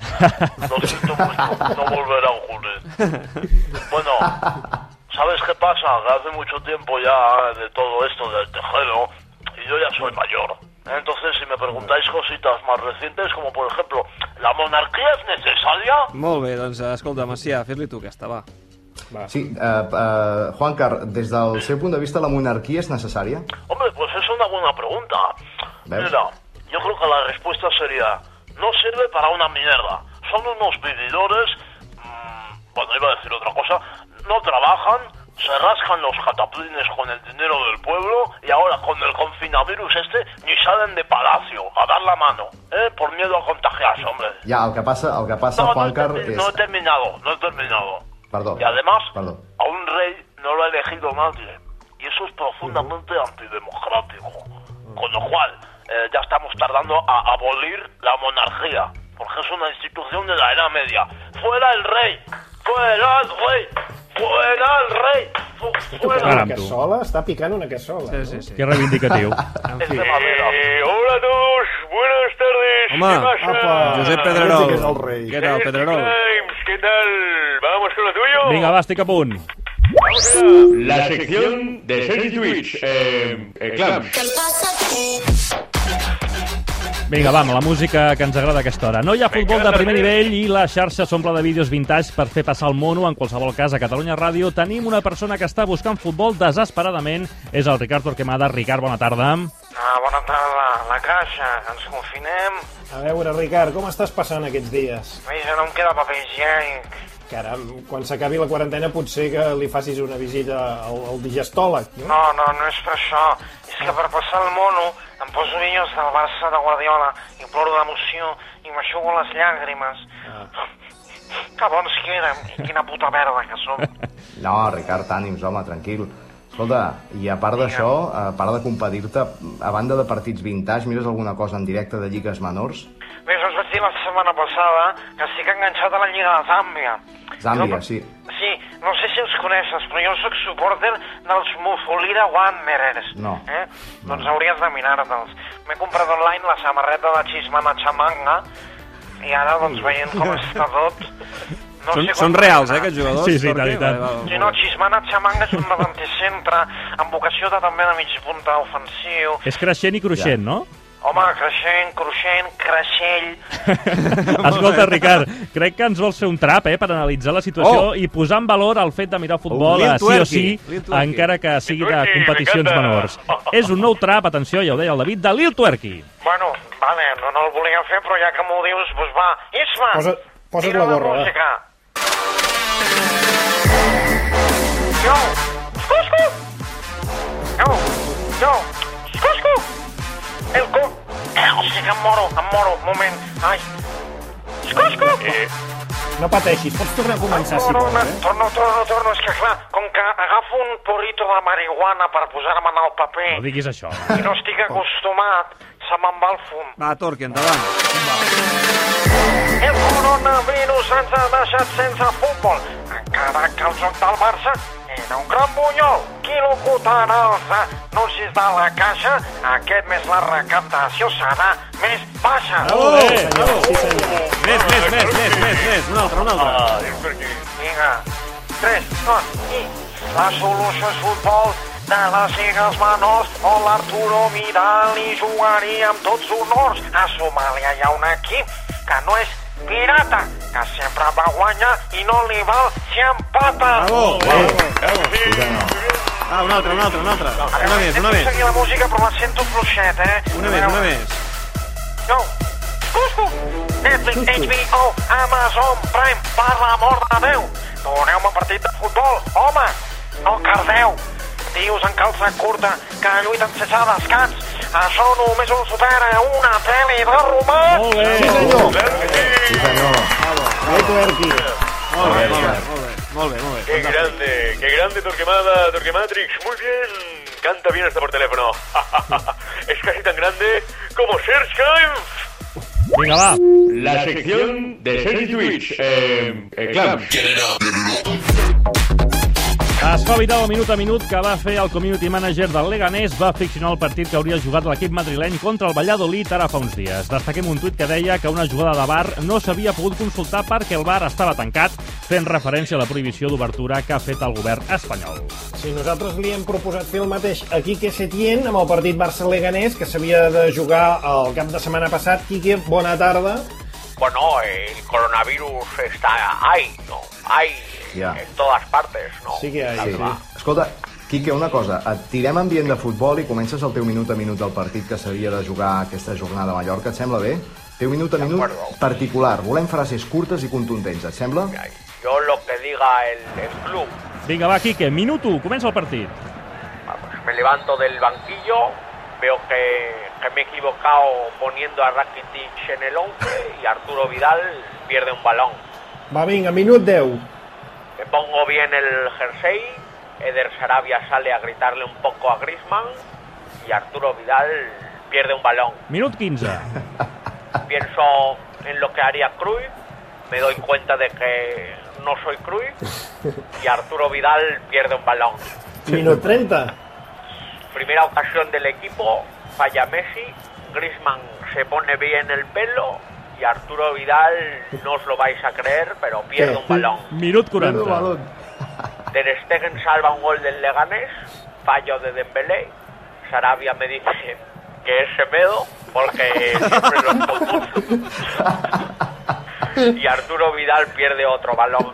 [SPEAKER 11] Lo siento mucho, no volverá a ocurrir. Bueno, ¿sabes qué pasa? Que hace mucho tiempo ya de todo esto del tejero y yo ya soy mayor. Entonces, si me preguntáis cositas más recientes, como por ejemplo, ¿la monarquía es necesaria?
[SPEAKER 2] Molt bé, doncs eh, escolta, Macià, fes-li tu aquesta, va.
[SPEAKER 5] Sí, eh, eh, Juancar, des del seu punt de vista, la monarquia és necessària?
[SPEAKER 11] Hombre, pues es una buena pregunta.
[SPEAKER 5] ¿Ves?
[SPEAKER 11] Mira, yo creo que la respuesta sería, no sirve para una mierda. Son unos vividores, mm, bueno, iba a decir otra cosa, no trabajan, se rascan los cataplines con el dinero del pueblo y ahora con el confinavirus este ni salen de palacio a dar la mano, ¿eh? Por miedo a contagiarse, hombre.
[SPEAKER 5] Ja, el que passa, el que passa
[SPEAKER 11] No, no, he
[SPEAKER 5] Juancar,
[SPEAKER 11] termi-
[SPEAKER 5] és...
[SPEAKER 11] no he terminado, no he terminado.
[SPEAKER 5] Perdó.
[SPEAKER 11] Y además,
[SPEAKER 5] Perdó.
[SPEAKER 11] a un rey no lo ha elegido nadie. Y eso es profundamente antidemocrático. Con lo cual, eh, ya estamos tardando a abolir la monarquía. Porque es una institución de la Edad Media. ¡Fuera el rey! ¡Fuera el rey! ¡Fuera el rey! ¡Fu- ¡Fuera!
[SPEAKER 3] Caram,
[SPEAKER 4] Una
[SPEAKER 3] tu.
[SPEAKER 4] cassola? Està picant una cassola,
[SPEAKER 2] Sí,
[SPEAKER 4] no?
[SPEAKER 2] sí, sí.
[SPEAKER 3] Que reivindicatiu.
[SPEAKER 2] En
[SPEAKER 11] Es de
[SPEAKER 2] fi.
[SPEAKER 11] madera.
[SPEAKER 7] Eh,
[SPEAKER 6] hola a todos, buenas tardes.
[SPEAKER 2] Home,
[SPEAKER 4] Apa.
[SPEAKER 2] Josep
[SPEAKER 4] Este que és el
[SPEAKER 2] Pedrerol.
[SPEAKER 4] rei.
[SPEAKER 2] Què tal, Pedrerol?
[SPEAKER 6] ¿Qué tal? ¿Vamos con lo tuyo?
[SPEAKER 3] Vinga, va, estic a punt.
[SPEAKER 7] La sección de Sergi Twitch. Eh, eh, clams.
[SPEAKER 3] Vinga, va, amb la música que ens agrada a aquesta hora. No hi ha futbol de primer nivell i la xarxa s'omple de vídeos vintage per fer passar el mono. En qualsevol cas, a Catalunya Ràdio tenim una persona que està buscant futbol desesperadament. És el Ricard Torquemada. Ricard, bona tarda.
[SPEAKER 13] Ah, bona tarda. La caixa, ens confinem.
[SPEAKER 4] A veure, Ricard, com estàs passant aquests dies?
[SPEAKER 13] Veig que no em queda paper higiènic.
[SPEAKER 4] Caram, quan s'acabi la quarantena potser que li facis una visita al, al digestòleg. No?
[SPEAKER 13] No, no, no és per això. És que per passar el mono em poso vídeos del Barça de Guardiola i ploro d'emoció i m'aixugo les llàgrimes. Ah. Que bons que érem i quina puta merda que som.
[SPEAKER 5] No, Ricard, ànims, home, tranquil. Escolta, i a part d'això, eh, a part de competir-te, a banda de partits vintage, mires alguna cosa en directe de lligues menors?
[SPEAKER 13] Més us vaig dir la setmana passada que estic enganxat a la Lliga de Zàmbia.
[SPEAKER 5] Zàmbia, sí.
[SPEAKER 13] Sí, no sé si els coneixes, però jo sóc supporter dels Mufolida Wanderers.
[SPEAKER 5] No.
[SPEAKER 13] Eh? Doncs hauries de mirar-te'ls. M'he comprat online la samarreta de Chismana Chamanga i ara, doncs, veient com està tot... No
[SPEAKER 2] Són,
[SPEAKER 13] sé com-
[SPEAKER 2] són reals, eh, aquests jugadors?
[SPEAKER 3] Sí, sí,
[SPEAKER 2] Perquè, eh,
[SPEAKER 3] de veritat.
[SPEAKER 2] va, va, va.
[SPEAKER 13] Sí, no, Chismana Chamanga és un davanticentre amb vocació de també de mig punta ofensiu.
[SPEAKER 3] És creixent i cruixent, no?
[SPEAKER 13] Home, creixent, cruixent, creixell...
[SPEAKER 3] Escolta, Ricard, crec que ens vols fer un trap eh, per analitzar la situació
[SPEAKER 2] Oh.
[SPEAKER 3] i posar en valor el fet de mirar futbol
[SPEAKER 2] Oh,
[SPEAKER 3] eh,
[SPEAKER 2] Lil
[SPEAKER 3] sí o
[SPEAKER 2] Twerky,
[SPEAKER 3] sí,
[SPEAKER 2] Lil Twerky.
[SPEAKER 3] encara que sigui de
[SPEAKER 11] Twerky,
[SPEAKER 3] competicions
[SPEAKER 11] m'encanta.
[SPEAKER 3] menors. És un nou trap, atenció, ja ho deia el David, de Lil Twerky.
[SPEAKER 13] Bueno, vale, no, no el volia fer, però ja que m'ho dius, doncs va. Isma,
[SPEAKER 4] Posa- posa't
[SPEAKER 13] tira
[SPEAKER 4] la gorra, va.
[SPEAKER 13] música. Yo, escusco. Yo, yo, escusco. El co... Eh, hòstia, que em moro, em moro, un moment. Ai, escusco. Eh,
[SPEAKER 4] No pateixis, pots tornar a començar si
[SPEAKER 13] torno, una,
[SPEAKER 4] vols, eh?
[SPEAKER 13] torno, torno, torno, és que clar, com que agafo un porrito de marihuana per posar-me en el paper
[SPEAKER 3] No diguis això.
[SPEAKER 13] i no estic acostumat, se me'n va el fum.
[SPEAKER 2] Va, Torqui, endavant.
[SPEAKER 13] El coronavirus ens ha deixat sense futbol, encara que el joc del Barça era un gran bunyol. Qui locutarà els anuncis de la caixa? Aquest mes la recaptació serà més baixa.
[SPEAKER 12] Oh,
[SPEAKER 4] Molt
[SPEAKER 3] eh.
[SPEAKER 4] bé, senyor, sí, senyor.
[SPEAKER 2] Més, més, més, més, més, més. Un altre, un altre.
[SPEAKER 12] Ah,
[SPEAKER 13] Vinga, 3, 2, i... La solució és futbol de les lligues menors on l'Arturo Vidal hi jugaria amb tots honors. A Somàlia hi ha un equip que no és pirata, que sempre va guanyar i no li val si empata.
[SPEAKER 2] Bravo, Ah, un altre, un altre, un altre. Una més, una més.
[SPEAKER 13] seguir la música, però la sento fluixet, eh?
[SPEAKER 2] Una més, una més.
[SPEAKER 13] No. Cusco. Netflix, HBO, Amazon Prime, per l'amor de Déu. Doneu-me un partit de futbol, home. No cardeu. Tios en calça curta que lluiten sense descans. Això només ho supera una pel·li de romans.
[SPEAKER 3] Molt bé.
[SPEAKER 4] Sí, senyor.
[SPEAKER 5] Sí, senyor.
[SPEAKER 4] Bé, Tuerqui.
[SPEAKER 2] Molt bé, molt bé, molt bé. Molt bé, molt bé.
[SPEAKER 7] Qué grande, qué grande Torquemada, Torquematrix. Muy bien. Canta bien hasta por teléfono. es casi tan grande como Serge Kampf.
[SPEAKER 3] Vinga, va.
[SPEAKER 7] La sección de Sergi Twitch. Eh, eh, Clamps.
[SPEAKER 3] Es fa vital el minut a minut que va fer el community manager del Leganés, va ficcionar el partit que hauria jugat l'equip madrileny contra el Valladolid ara fa uns dies. Destaquem un tuit que deia que una jugada de bar no s'havia pogut consultar perquè el bar estava tancat, fent referència a la prohibició d'obertura que ha fet el govern espanyol.
[SPEAKER 4] Si nosaltres li hem proposat fer el mateix a Quique Setién amb el partit Barça-Leganés, que s'havia de jugar el cap de setmana passat. Quique, bona tarda.
[SPEAKER 12] Bueno, el coronavirus está ahí, ¿no? Ahí,
[SPEAKER 5] Ya.
[SPEAKER 12] en todas partes, ¿no?
[SPEAKER 4] Sí que hi ha,
[SPEAKER 12] La
[SPEAKER 5] Sí.
[SPEAKER 12] verdad.
[SPEAKER 5] Escolta, Quique, una cosa, et tirem ambient de futbol i comences el teu minut a minut del partit que s'havia de jugar aquesta jornada a Mallorca, et sembla bé? Teu minut a minut
[SPEAKER 12] D'acuerdo.
[SPEAKER 5] particular, volem frases curtes i contundents, et sembla?
[SPEAKER 12] Ay, Yo lo que diga el, el club,
[SPEAKER 3] Vinga, va, Quique, minut 1, comença el partit.
[SPEAKER 12] vamos, me levanto del banquillo, veo que, que me he equivocado poniendo a Rakitic en el 11 y Arturo Vidal pierde un balón.
[SPEAKER 4] Va, vinga, minut 10.
[SPEAKER 12] Me pongo bien el jersey, Eder Sarabia sale a gritarle un poco a Grisman y Arturo Vidal pierde un balón.
[SPEAKER 3] Minut 15.
[SPEAKER 12] pienso en lo que haría Cruyff, me doy cuenta de que no soy Cruyff y Arturo Vidal pierde un balón.
[SPEAKER 4] Minut 30.
[SPEAKER 12] Primera ocasión del equipo, falla Messi, Grisman se pone bien el pelo y Arturo Vidal no os lo vais a creer, pero pierde un balón.
[SPEAKER 3] Minut 40.
[SPEAKER 12] Ter Stegen salva un gol del Leganés, fallo de Dembélé. Sarabia me dice, que es Semedo, porque siempre los confundo. Y Arturo Vidal pierde otro balón.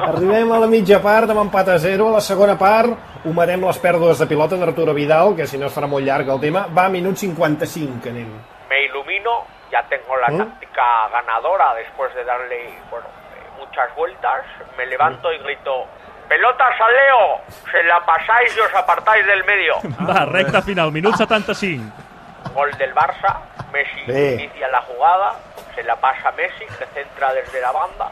[SPEAKER 4] Arribem a la mitja part amb empat a 0. A la segona part humarem les pèrdues de pilota d'Arturo Vidal, que si no es farà molt llarg el tema. Va, minut 55 que anem.
[SPEAKER 12] Me ilumino, ya tengo la
[SPEAKER 4] ¿Mm?
[SPEAKER 12] táctica ganadora después de darle bueno, eh, muchas vueltas. Me levanto y grito: ¡Pelotas a Leo! ¡Se la pasáis y os apartáis del medio!
[SPEAKER 3] Ah, Va, recta final, minut 75.
[SPEAKER 12] Gol del Barça, Messi
[SPEAKER 3] Sí.
[SPEAKER 12] inicia la jugada, se la pasa a Messi, que centra desde la banda,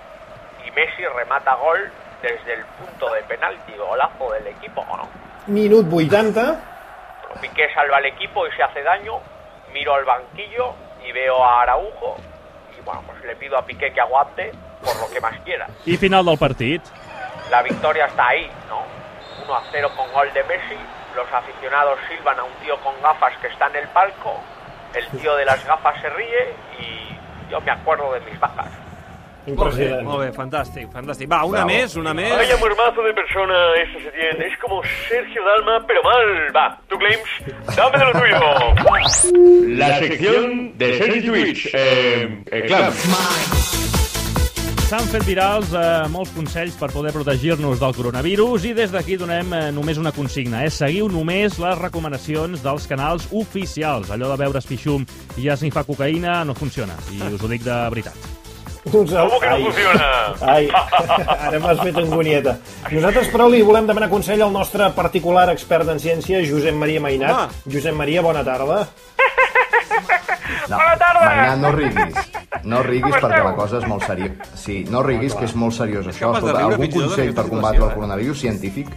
[SPEAKER 12] y Messi remata gol desde el punto de penalti, golazo del equipo, ¿o ¿no?
[SPEAKER 4] Minut 80.
[SPEAKER 12] Pero Piqué salva al equipo y se hace daño, miro al banquillo y veo a Araujo, y bueno, pues le pido a Piqué que aguante por lo que más quiera.
[SPEAKER 3] I final del partit.
[SPEAKER 12] La victoria está ahí, ¿no? 1 a 0 con gol de Messi. Los aficionados silban a un tío con gafas que está en el palco. El tío de las gafas se ríe y yo me acuerdo de mis bajas.
[SPEAKER 2] Molt bé, molt bé, fantàstic, fantàstic. Va, una
[SPEAKER 7] Bravo.
[SPEAKER 2] més, una més.
[SPEAKER 7] Vaya muermazo de persona es ese Setién. Es como Sergio Dalma, pero mal. Va, tú claims, dame de lo tuyo.
[SPEAKER 14] La sección de Sergi Twitch. Eh, eh, clar.
[SPEAKER 3] S'han fet virals eh, molts consells per poder protegir-nos del coronavirus i des d'aquí donem eh, només una consigna. És seguiu només les recomanacions dels canals oficials. Allò de beure's fixum i esnifar cocaïna no funciona. I us ho dic de veritat.
[SPEAKER 4] Doncs,
[SPEAKER 3] Com que no funciona?
[SPEAKER 4] Ai, ara m'has fet angonieta. Nosaltres, però, li volem demanar consell al nostre particular expert en ciència, Josep Maria Mainat. Josep Maria, bona tarda.
[SPEAKER 5] Bona tarda! Magnà, no riguis. No riguis perquè la cosa és molt seriosa. Sí,
[SPEAKER 15] Ah,
[SPEAKER 5] no riguis, que és molt seriós això.
[SPEAKER 15] capaç de eh?
[SPEAKER 5] Escolta,
[SPEAKER 15] riure
[SPEAKER 5] algun
[SPEAKER 15] fins i tot en
[SPEAKER 5] consell
[SPEAKER 15] aquesta
[SPEAKER 5] per combatre el coronavirus científic?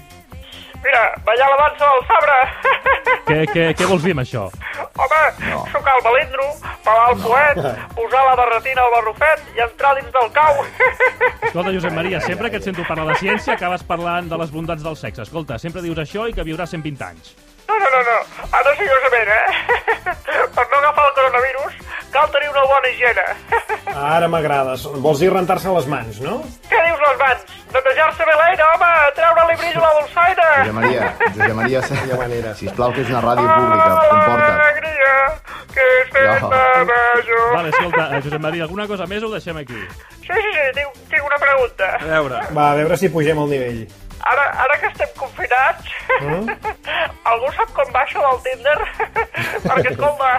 [SPEAKER 12] Mira, ballar la dansa del sabre.
[SPEAKER 3] Què, què, què vols dir amb això?
[SPEAKER 12] Home, no. sucar el balendro, pelar el coet, posar la barretina al barrufet i entrar dins del cau.
[SPEAKER 3] Escolta, Josep Maria, sempre que et sento parlar de ciència acabes parlant de les bondats del sexe. Escolta, sempre dius això i que viuràs 120 anys.
[SPEAKER 12] No, no, no, no. Ara seriosament, eh? Per no agafar el coronavirus cal tenir una bona higiene.
[SPEAKER 4] Ara m'agrades. Vols dir rentar-se les mans, no?
[SPEAKER 12] Què dius les mans? Netejar-se bé l'aire, home! Treure-li brillo a la dolçaina! Ah,
[SPEAKER 5] Josep Maria, Josep Maria, sisplau, que és una ràdio pública. Comporta't.
[SPEAKER 3] Vale, escolta, eh, Josep Maria, alguna cosa més o ho deixem aquí?
[SPEAKER 12] Sí, sí, sí, tinc, tinc una pregunta.
[SPEAKER 5] Eh.
[SPEAKER 3] A veure.
[SPEAKER 4] Va, a veure si pugem al nivell.
[SPEAKER 12] Ara, ara que estem confinats,
[SPEAKER 4] Mm?
[SPEAKER 12] algú sap com va això del Tinder? Perquè, escolta,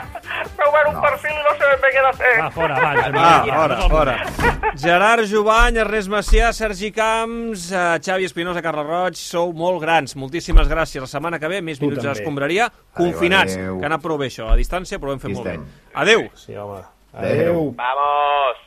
[SPEAKER 12] m'he obert un perfil i no sé ben bé què he de fer.
[SPEAKER 3] Va, fora, va, Josep
[SPEAKER 2] Ah, fora, fora. Gerard Jovany, Ernest Macià, Sergi Camps, eh, Xavi Espinosa, Carles Roig, sou molt grans. Moltíssimes gràcies. La setmana que ve, més
[SPEAKER 4] Tu
[SPEAKER 2] minuts a
[SPEAKER 4] també.
[SPEAKER 2] l'escombraria,
[SPEAKER 4] Adéu,
[SPEAKER 2] confinats,
[SPEAKER 4] adéu.
[SPEAKER 2] que ha anat prou bé això. A distància, però ho hem fet
[SPEAKER 4] Aquí
[SPEAKER 2] molt bé.
[SPEAKER 4] estem.
[SPEAKER 2] Adéu.
[SPEAKER 4] Sí, home. Adéu.
[SPEAKER 12] Vamos!